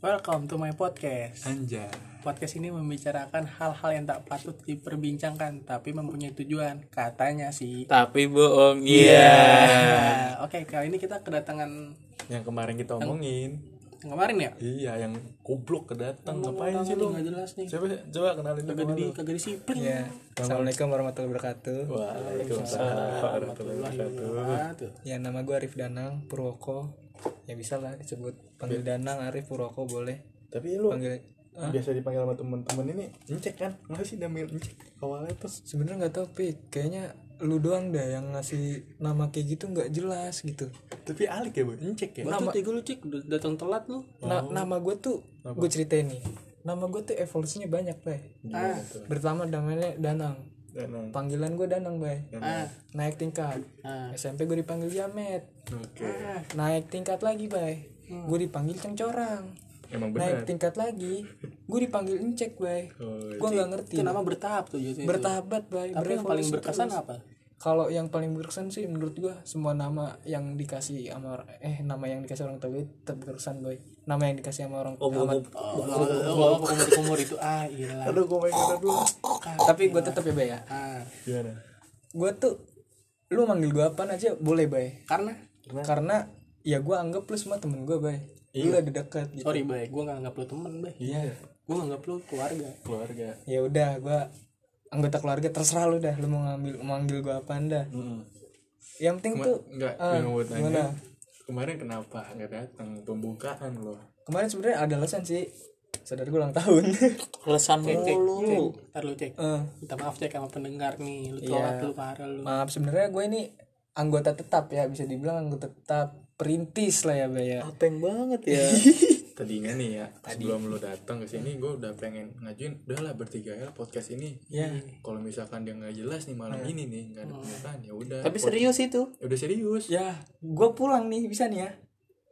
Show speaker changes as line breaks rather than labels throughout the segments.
Welcome to my podcast.
Anjay.
Podcast ini membicarakan hal-hal yang tak patut diperbincangkan, tapi mempunyai tujuan, katanya sih.
Tapi bohong. Iya.
Nah, Oke, kali ini kita kedatangan
Yang kemarin kita omongin.
yang kemarin ya.
Iya, yang goblok kedatang. Ngapain sih lu?
Nggak jelas nih.
Coba coba kenalin dulu.
Kagak di kagak disiplin.
Assalamualaikum warahmatullahi wabarakatuh.
Waalaikumsalam warahmatullahi wabarakatuh.
Wah, tuh.
Ya nama gue Arif Danang Purwoko. Ya bisa lah disebut panggil Danang Arif Purwoko boleh.
Tapi lu ah,
Panggil
biasa dipanggil sama temen-temen ini Encek kan? Masih damil Encek awalnya tuh.
sebenarnya nggak tahu pik. Kayaknya lu doang dah yang ngasih nama kayak gitu nggak jelas gitu.
Tapi alik ya, Bu. Encek ya.
Batu tiga lu cik udah datang telat lu.
Na- nama gue tuh gue ceritain nih. Nama gue tuh evolusinya banyak bay.
Gimana tuh?
Pertama namanya Danang.
Danang.
Panggilan gue Danang bay.
Ah,
Naik tingkat.
ah.
SMP gue dipanggil Jamet.
Oke.
Naik tingkat lagi bay. Gue dipanggil Cengcorang.
Emang benar.
naik tingkat lagi gue dipanggil encek bay
Oh,
gue nggak ngerti
Itu nama bertahap tuh jadi.
bertahabat bay
ya? Tapi yang paling
berevolusi
berkesan
terus.
apa?
kalau yang paling berkesan sih menurut gue semua nama yang dikasih sama or- eh nama yang dikasih orang tua gue tetap berkesan boy nama yang dikasih sama orang tua
Oh, oh, oh, kumur-kumur itu ah iyalah.
Aduh, gue main kata dulu.
tapi gue tetap ya bay ya
Ah,
Gimana?
gue tuh lu manggil gue apa aja boleh bay
karena
karena ya gue anggap lu semua temen gue bay lu
Iya.
ada dekat gitu
sorry bay, gue nggak nganggap lu temen bay.
Iya,
Gue nganggap lu keluarga.
keluarga.
ya udah gue anggota keluarga terserah lu dah lu mau ngambil manggil gue apa anda
Heeh.
yang penting tuh
Enggak,
ah,
yang mau tanya.
gimana?
Kemarin kenapa nggak datang pembukaan lo?
kemarin sebenarnya ada alasan sih saudara gue ulang tahun
Kelesan mulu. Ntar lu cek.
Eh,
Minta maaf cek sama pendengar nih. Lu telat lu parah lu.
maaf sebenarnya gue ini anggota tetap ya bisa dibilang anggota tetap perintis lah ya Baya
Ateng banget ya. Tadinya nih ya, sebelum lo datang ke sini gue udah pengen ngajuin udahlah bertiga ya podcast ini.
ya
Kalau misalkan dia nggak jelas nih malam ini nih nggak ada pembukaan ya udah.
Tapi serius itu.
Ya udah serius.
ya gue pulang nih bisa nih ya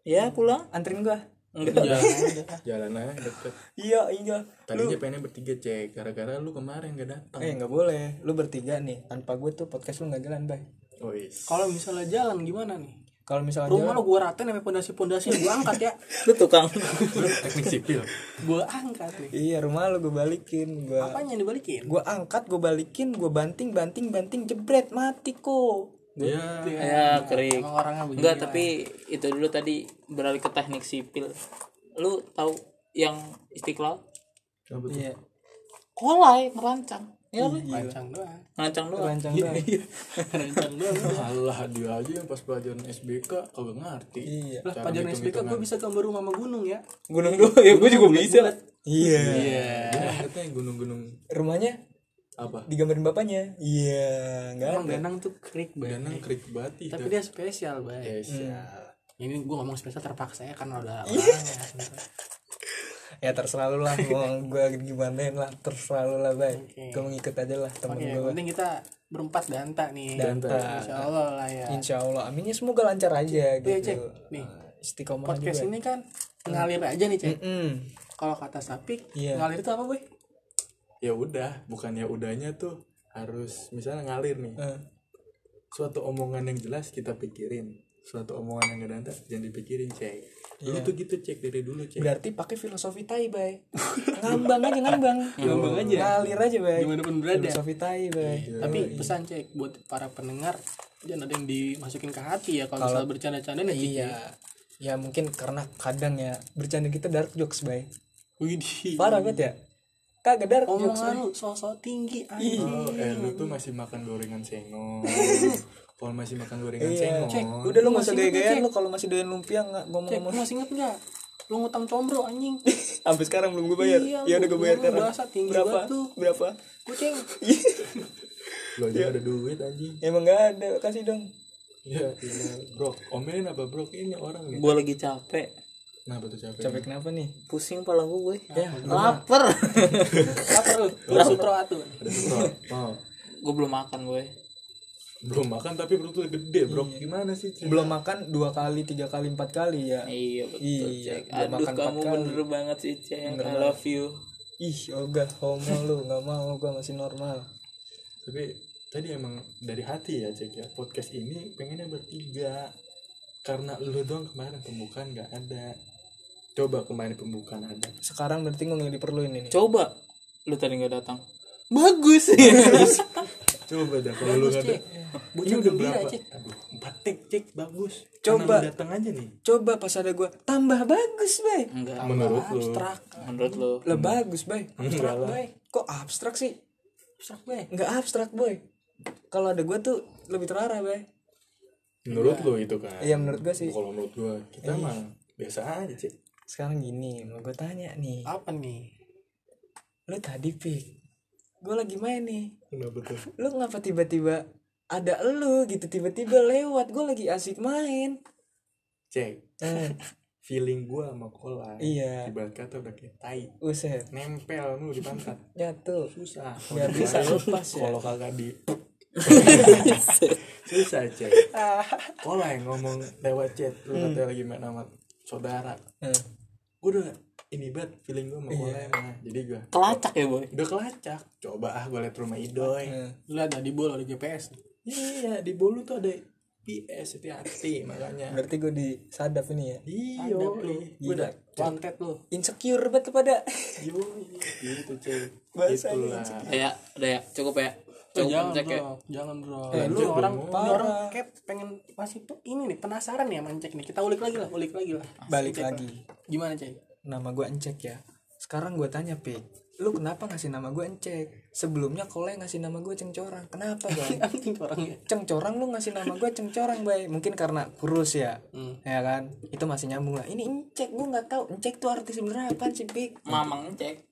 Ya pulang.
anterin gue
Jangan
Jalan aja deket.
iya iya
Tadinya pengen bertiga cek gara-gara lu kemarin nggak datang.
eh nggak boleh lu bertiga nih tanpa gue tuh podcast lu nggak jalan bay
Wis.
Kalau misalnya jalan gimana nih?
kalau misalnya
Rumah lu gue ratain sampai pondasi-pondasi gue angkat ya.
Lu tukang.
Teknik sipil.
Gue angkat nih.
iya rumah lu gue balikin gue
Apanya yang dibalikin?
gue angkat gue balikin gue banting banting banting jebret mati kok
Ya,
ya kering.
Emang orangnya begini.
Enggak tapi itu dulu tadi beralih ke teknik sipil. Lu tahu yang istiqlal?
kenapa tuh?
iya
Kolai merancang. Ya kan?
Rancang doang.
Merancang doang.
rancang doang
Rancang doang.
Alah dia aja yang pas pelajaran SBK kagak ngerti.
Iya.
Lah pelajaran SBK gue bisa gambar rumah sama gunung ya.
Gunung gue ya gue juga bisa. Iya.
Dia katanya gunung-gunung
Rumahnya
apa?
digambarin bapaknya. Iya, enggak
Emang Danang tuh krik banget.
Danang krik bati.
Tapi dia spesial
Iya.
bay.
Spesial.
Ini gue ngomong spesial terpaksa ya karena udah orangnya.
Ya terserah lu lah mau gua gimanain lah, terserah lu lah, Bay. Gua mengikut aja lah temen
Oke, yang
gua.
penting kita berempat danta nih.
Danta.
Insya Allah lah ya.
Insya Allah, aminnya semoga lancar aja
Iya,
gitu.
Cek. Nih,
Istiqomah aja.
podcast ini kan ngalir aja nih, Cek.
Hmm.
Kalau kata Sapik,
Iya.
ngalir itu apa, Boy?
Ya udah, bukannya udahnya tuh harus misalnya ngalir nih.
Eh,
Suatu omongan yang jelas kita pikirin. Suatu omongan yang gak ada jangan dipikirin, Cek.
Iya.
Lu tuh gitu, Cek dari dulu, Cek.
berarti pakai filosofi tai, Bay. ngambang aja ngambang.
Ya, Ngambang aja.
Ngalir aja, Bay.
Gimana pun berada.
Filosofi tai, Bay.
Tapi pesan, Cek, buat para pendengar, jangan ada yang dimasukin ke hati ya kalau misalnya bercanda-canda nih, Cek.
Iya. Ya mungkin karena kadang ya bercanda kita dark jokes, Bay.
Widih.
Parah banget ya. Kagak dark jokes.
Omongan lu sosok tinggi
Iya.
anjing.
Oh, eh lu tuh masih makan gorengan sengon. Paul masih makan gorengan sengon.
Iya, Cek, udah lu masa gaya-gayaan lu kalau masih doyan lumpia
Cek,
nggak
lu
ngomong-ngomong.
masih inget enggak? Lu ngutang combro anjing.
Sampai sekarang belum gue bayar.
Iya,
ya udah gue bayar
lu
sekarang.
berasa tinggi
Berapa?
banget tuh.
Berapa?
Kucing.
Lu
Iya.
aja ada duit anjing.
Ya, Emang nggak ada, kasih dong.
Ya, iya. Bro, omelin apa, Bro? Ini orang nih.
Gua lagi capek.
Nah, betul capek.
Capek kenapa nih?
Pusing pala gua, gue.
Ya,
Laper.
Lapar lu. Lu sutro atuh.
Ada setor. Oh.
gua belum makan, gue.
Belum makan tapi perut lu gede,
Iya.
Bro. Gimana sih, Cek?
belum makan dua kali, tiga kali, empat kali ya.
Iya, betul,
Iya,
Cek.
gua
Aduh,
makan
kamu
empat kali.
bener banget sih, Cek. I love you.
Ih, ogah homo lu, nggak mau gua masih normal.
tapi tadi emang dari hati ya cek ya podcast ini pengennya bertiga karena lu doang kemarin pembukaan nggak ada coba kemarin pembukaan anda
sekarang berarti gue nggak diperluin ini
coba lu tadi nggak datang bagus
coba dah kalau lu ada Iya. ini udah berapa Aduh, empat cek cek bagus
Coba.
Karena lu datang aja nih
coba pas ada gue tambah bagus bay
enggak
menurut lu
abstrak
menurut lu
lah bagus bay abstrak
lah.
bay kok abstrak sih abstrak bay nggak abstrak boy kalau ada gue tuh lebih terarah bay
menurut lu itu kan
iya menurut gue sih Iya.
kalau menurut gua kita mah biasa aja cek
sekarang gini mau gue tanya nih
apa nih
lu tadi pik gue lagi main nih
kenapa tuh
lu ngapa tiba-tiba ada lu gitu tiba-tiba lewat gue lagi asik main
cek
eh,
feeling gua sama kola
Iya.
ibarat kata udah kayak tai
uset
nempel mulu di pantat
nyatu
susah
nggak bisa lepas ya
kalau kagak di susah cek kola yang ngomong lewat chat lu
Hmm.
katanya lagi main sama saudara
Eh,
gua udah ini banget feeling gua sama
Iya.
kola emang jadi gua
kelacak ya boy
udah kelacak coba ah gua liat rumah idoy
lu ada di bola di GPS
iya di bolu tuh ada PS hati-hati makanya
berarti gue disadap ini ya
iyo gua udah
kontet lu
insecure banget kepada
iyo gitu cek
Bahasa
Itulah.
ya udah ya cukup ya
Eh,
cukup
jangan
cek ya
bro, jangan bro.
Eh,
Ini
lanjut
orang,
dong.
ini orang kayak pengen masih tuh ini nih penasaran ya mancek nih. Kita ulik lagi lah, ulik lagi lah.
balik
Cek lah.
lagi
Gimana cek?
nama gue encek ya sekarang gue tanya pik lu kenapa ngasih nama gue encek sebelumnya kalau yang ngasih nama gue cengcorang kenapa bang
Anjing orangnya.
cengcorang lu ngasih nama gue cengcorang bay mungkin karena kurus ya ya kan itu masih nyambung lah ini encek gue nggak tahu encek tuh arti sebenarnya apa sih pik
mamang cek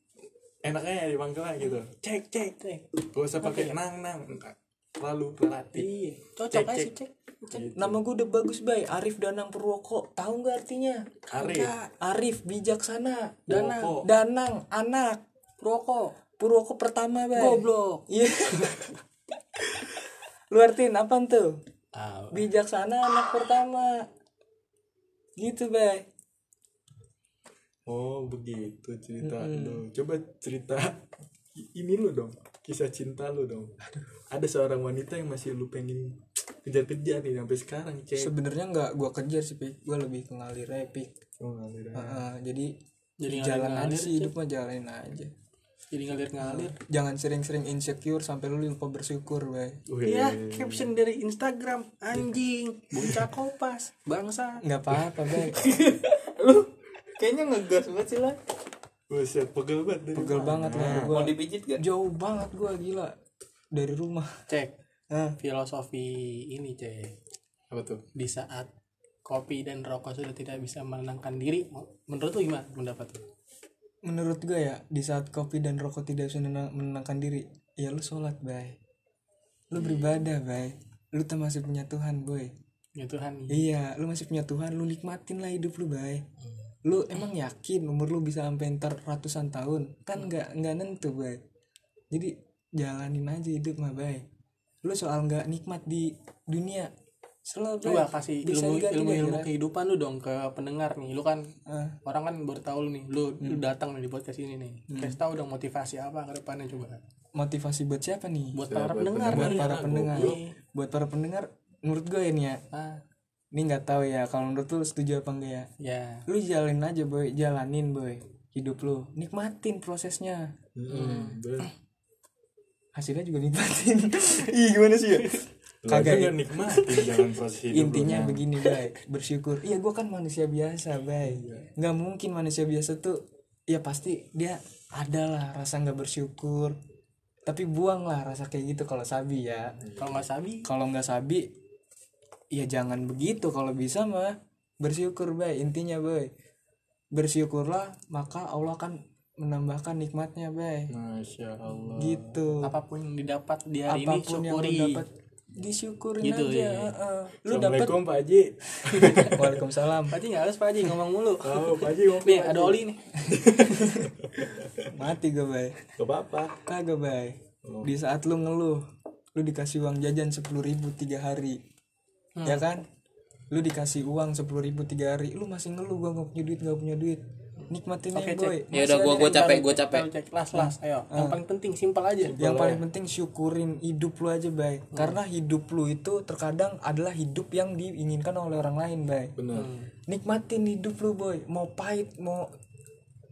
enaknya dipanggilnya gitu
Cek cek cek.
gak usah pakai nang nang enggak. terlalu berarti
Iya, cocok
Cek,
aja
cek.
sih cek. Cek.
nama gue udah bagus bay Arif Danang Purwoko tahu nggak artinya
Arif
Arif bijaksana
Danang.
Purwoko.
Danang anak
Proko.
Purwoko pertama bay
Goblok.
iya lu artiin apa tuh
Ah,
bijaksana anak pertama gitu bay
oh begitu cerita lu coba cerita ini lu dong kisah cinta lu dong ada seorang wanita yang masih lu pengen kejar-kejar nih sampai sekarang cek
sebenarnya nggak gue kejar sih pik gue lebih ke ngalir aja, Pik.
oh, ngalir aja.
Heeh, jadi
Jadi
jalan
ngalir-ngalir,
aja sih hidup mah jalanin aja
jadi ngalir-ngalir.
jangan sering-sering insecure sampai lu lupa bersyukur bay
Wih,
Ya,
Iya.
caption dari Instagram anjing, bocah kopas, bangsa.
nggak apa-apa bay
kayaknya ngegas banget sih lah
buset pegel banget dari
pegel banget lah gua
dipijit gak
jauh banget gua gila dari rumah Nah,
Cek,
Hah,
filosofi ini cek.
apa tuh
di saat kopi dan rokok sudah tidak bisa menenangkan diri menurut lu gimana pendapat lu
menurut gua ya di saat kopi dan rokok tidak bisa menenang- menenangkan diri ya lu sholat bay lu beribadah bay lu tuh masih punya Tuhan boy
ya Tuhan
Iya, lu masih punya Tuhan, lu nikmatin lah hidup lu, Bay. Lu emang yakin umur lu bisa sampai ntar ratusan tahun?
Hmm.
Kan nggak nggak nentu, Bay. Jadi jalanin aja hidup mah, Bay. Lu soal nggak nikmat di dunia, selalu
lu gak kasih
Bisa
ilmu
diganti
ilmu
gak,
ilmu
Ira?
kehidupan lu dong ke pendengar nih lu kan
Ah,
orang kan baru tahu lu nih lu lu datang nih di podcast ini nih kasih tahu dong motivasi apa ke depannya coba
motivasi buat siapa nih?
buat Iya. para pendengar
Buat
nih.
para pendengar.
goblok.
Buat para pendengar, menurut gue ini ya,
Ah,
ini nggak tahu ya. Kalau menurut lu setuju apa enggak ya?
ya
Lu jalanin aja, boy. Jalanin, boy. Hidup lu, nikmatin prosesnya. Eh,
hmm. bener.
hasilnya juga nikmatin ih gimana sih ya
Lu aja kan
kagak
nggak nikmatin jalan proses hidup lu,
intinya
Nang.
begini bay bersyukur iya gue kan manusia biasa bay
Iya.
nggak mungkin manusia biasa tuh ya pasti dia ada lah rasa nggak bersyukur tapi buanglah rasa kayak gitu kalau sabi ya
kalau nggak sabi
kalau nggak sabi ya jangan begitu kalau bisa mah bersyukur bay intinya bay bersyukurlah maka Allah akan menambahkan nikmatnya bay
masya allah
gitu
apapun yang didapat di hari ini
apapun yang
syukuri
lu dapat disyukurin
Gitu,
aja
iya.
heeh. lu dapat
assalamualaikum pak Haji
waalaikumsalam
Pak Haji nggak harus Pak Haji ngomong mulu
tahu pak Haji ngomong
nih ada Oli nih
mati gue bay
gak apa-apa
kagak bay
Oh.
di saat lu ngeluh lu dikasih uang jajan sepuluh ribu tiga hari
Hmm.
ya kan lu dikasih uang sepuluh ribu tiga hari lu masih ngeluh gua nggak punya duit nggak punya duit nikmatin
Oke,
aja
cek.
boy
ya udah gua gua capek gua capek Iya.
Ayo, cek las las ayo yang paling penting simpel aja
yang paling penting syukurin hidup lu aja bay
Hmm.
karena hidup lu itu terkadang adalah hidup yang diinginkan oleh orang lain bay
benar
nikmatin hidup lu boy mau pahit mau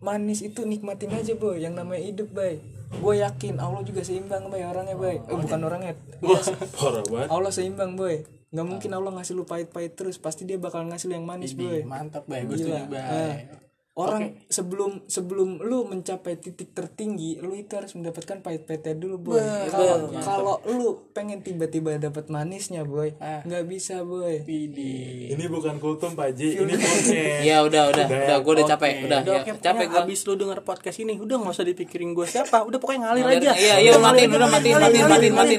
manis itu nikmatin aja boy yang namanya hidup bay gue yakin Allah juga seimbang bay orangnya bay eh, bukan orangnya
parah banget
Allah seimbang boy nggak mungkin Allah ngasih lu pahit-pahit terus pasti dia bakal ngasih lu yang manis boy Ah.
Iya.
mantap bay gue setuju bay
orang sebelum sebelum lu mencapai titik tertinggi lu itu harus mendapatkan pahit-pahitnya dulu boy kalau kalau lu pengen tiba-tiba dapat manisnya boy nggak bisa boy Iya.
Widih.
ini bukan kultum pak Ji ini podcast
ya udah udah udah gua udah capek udah
Udah,
ya
oke,
capek
capek
gua
abis lu denger podcast ini udah nggak usah dipikirin gue siapa udah pokoknya ngalir aja
iya iya matiin udah matiin matiin matiin matiin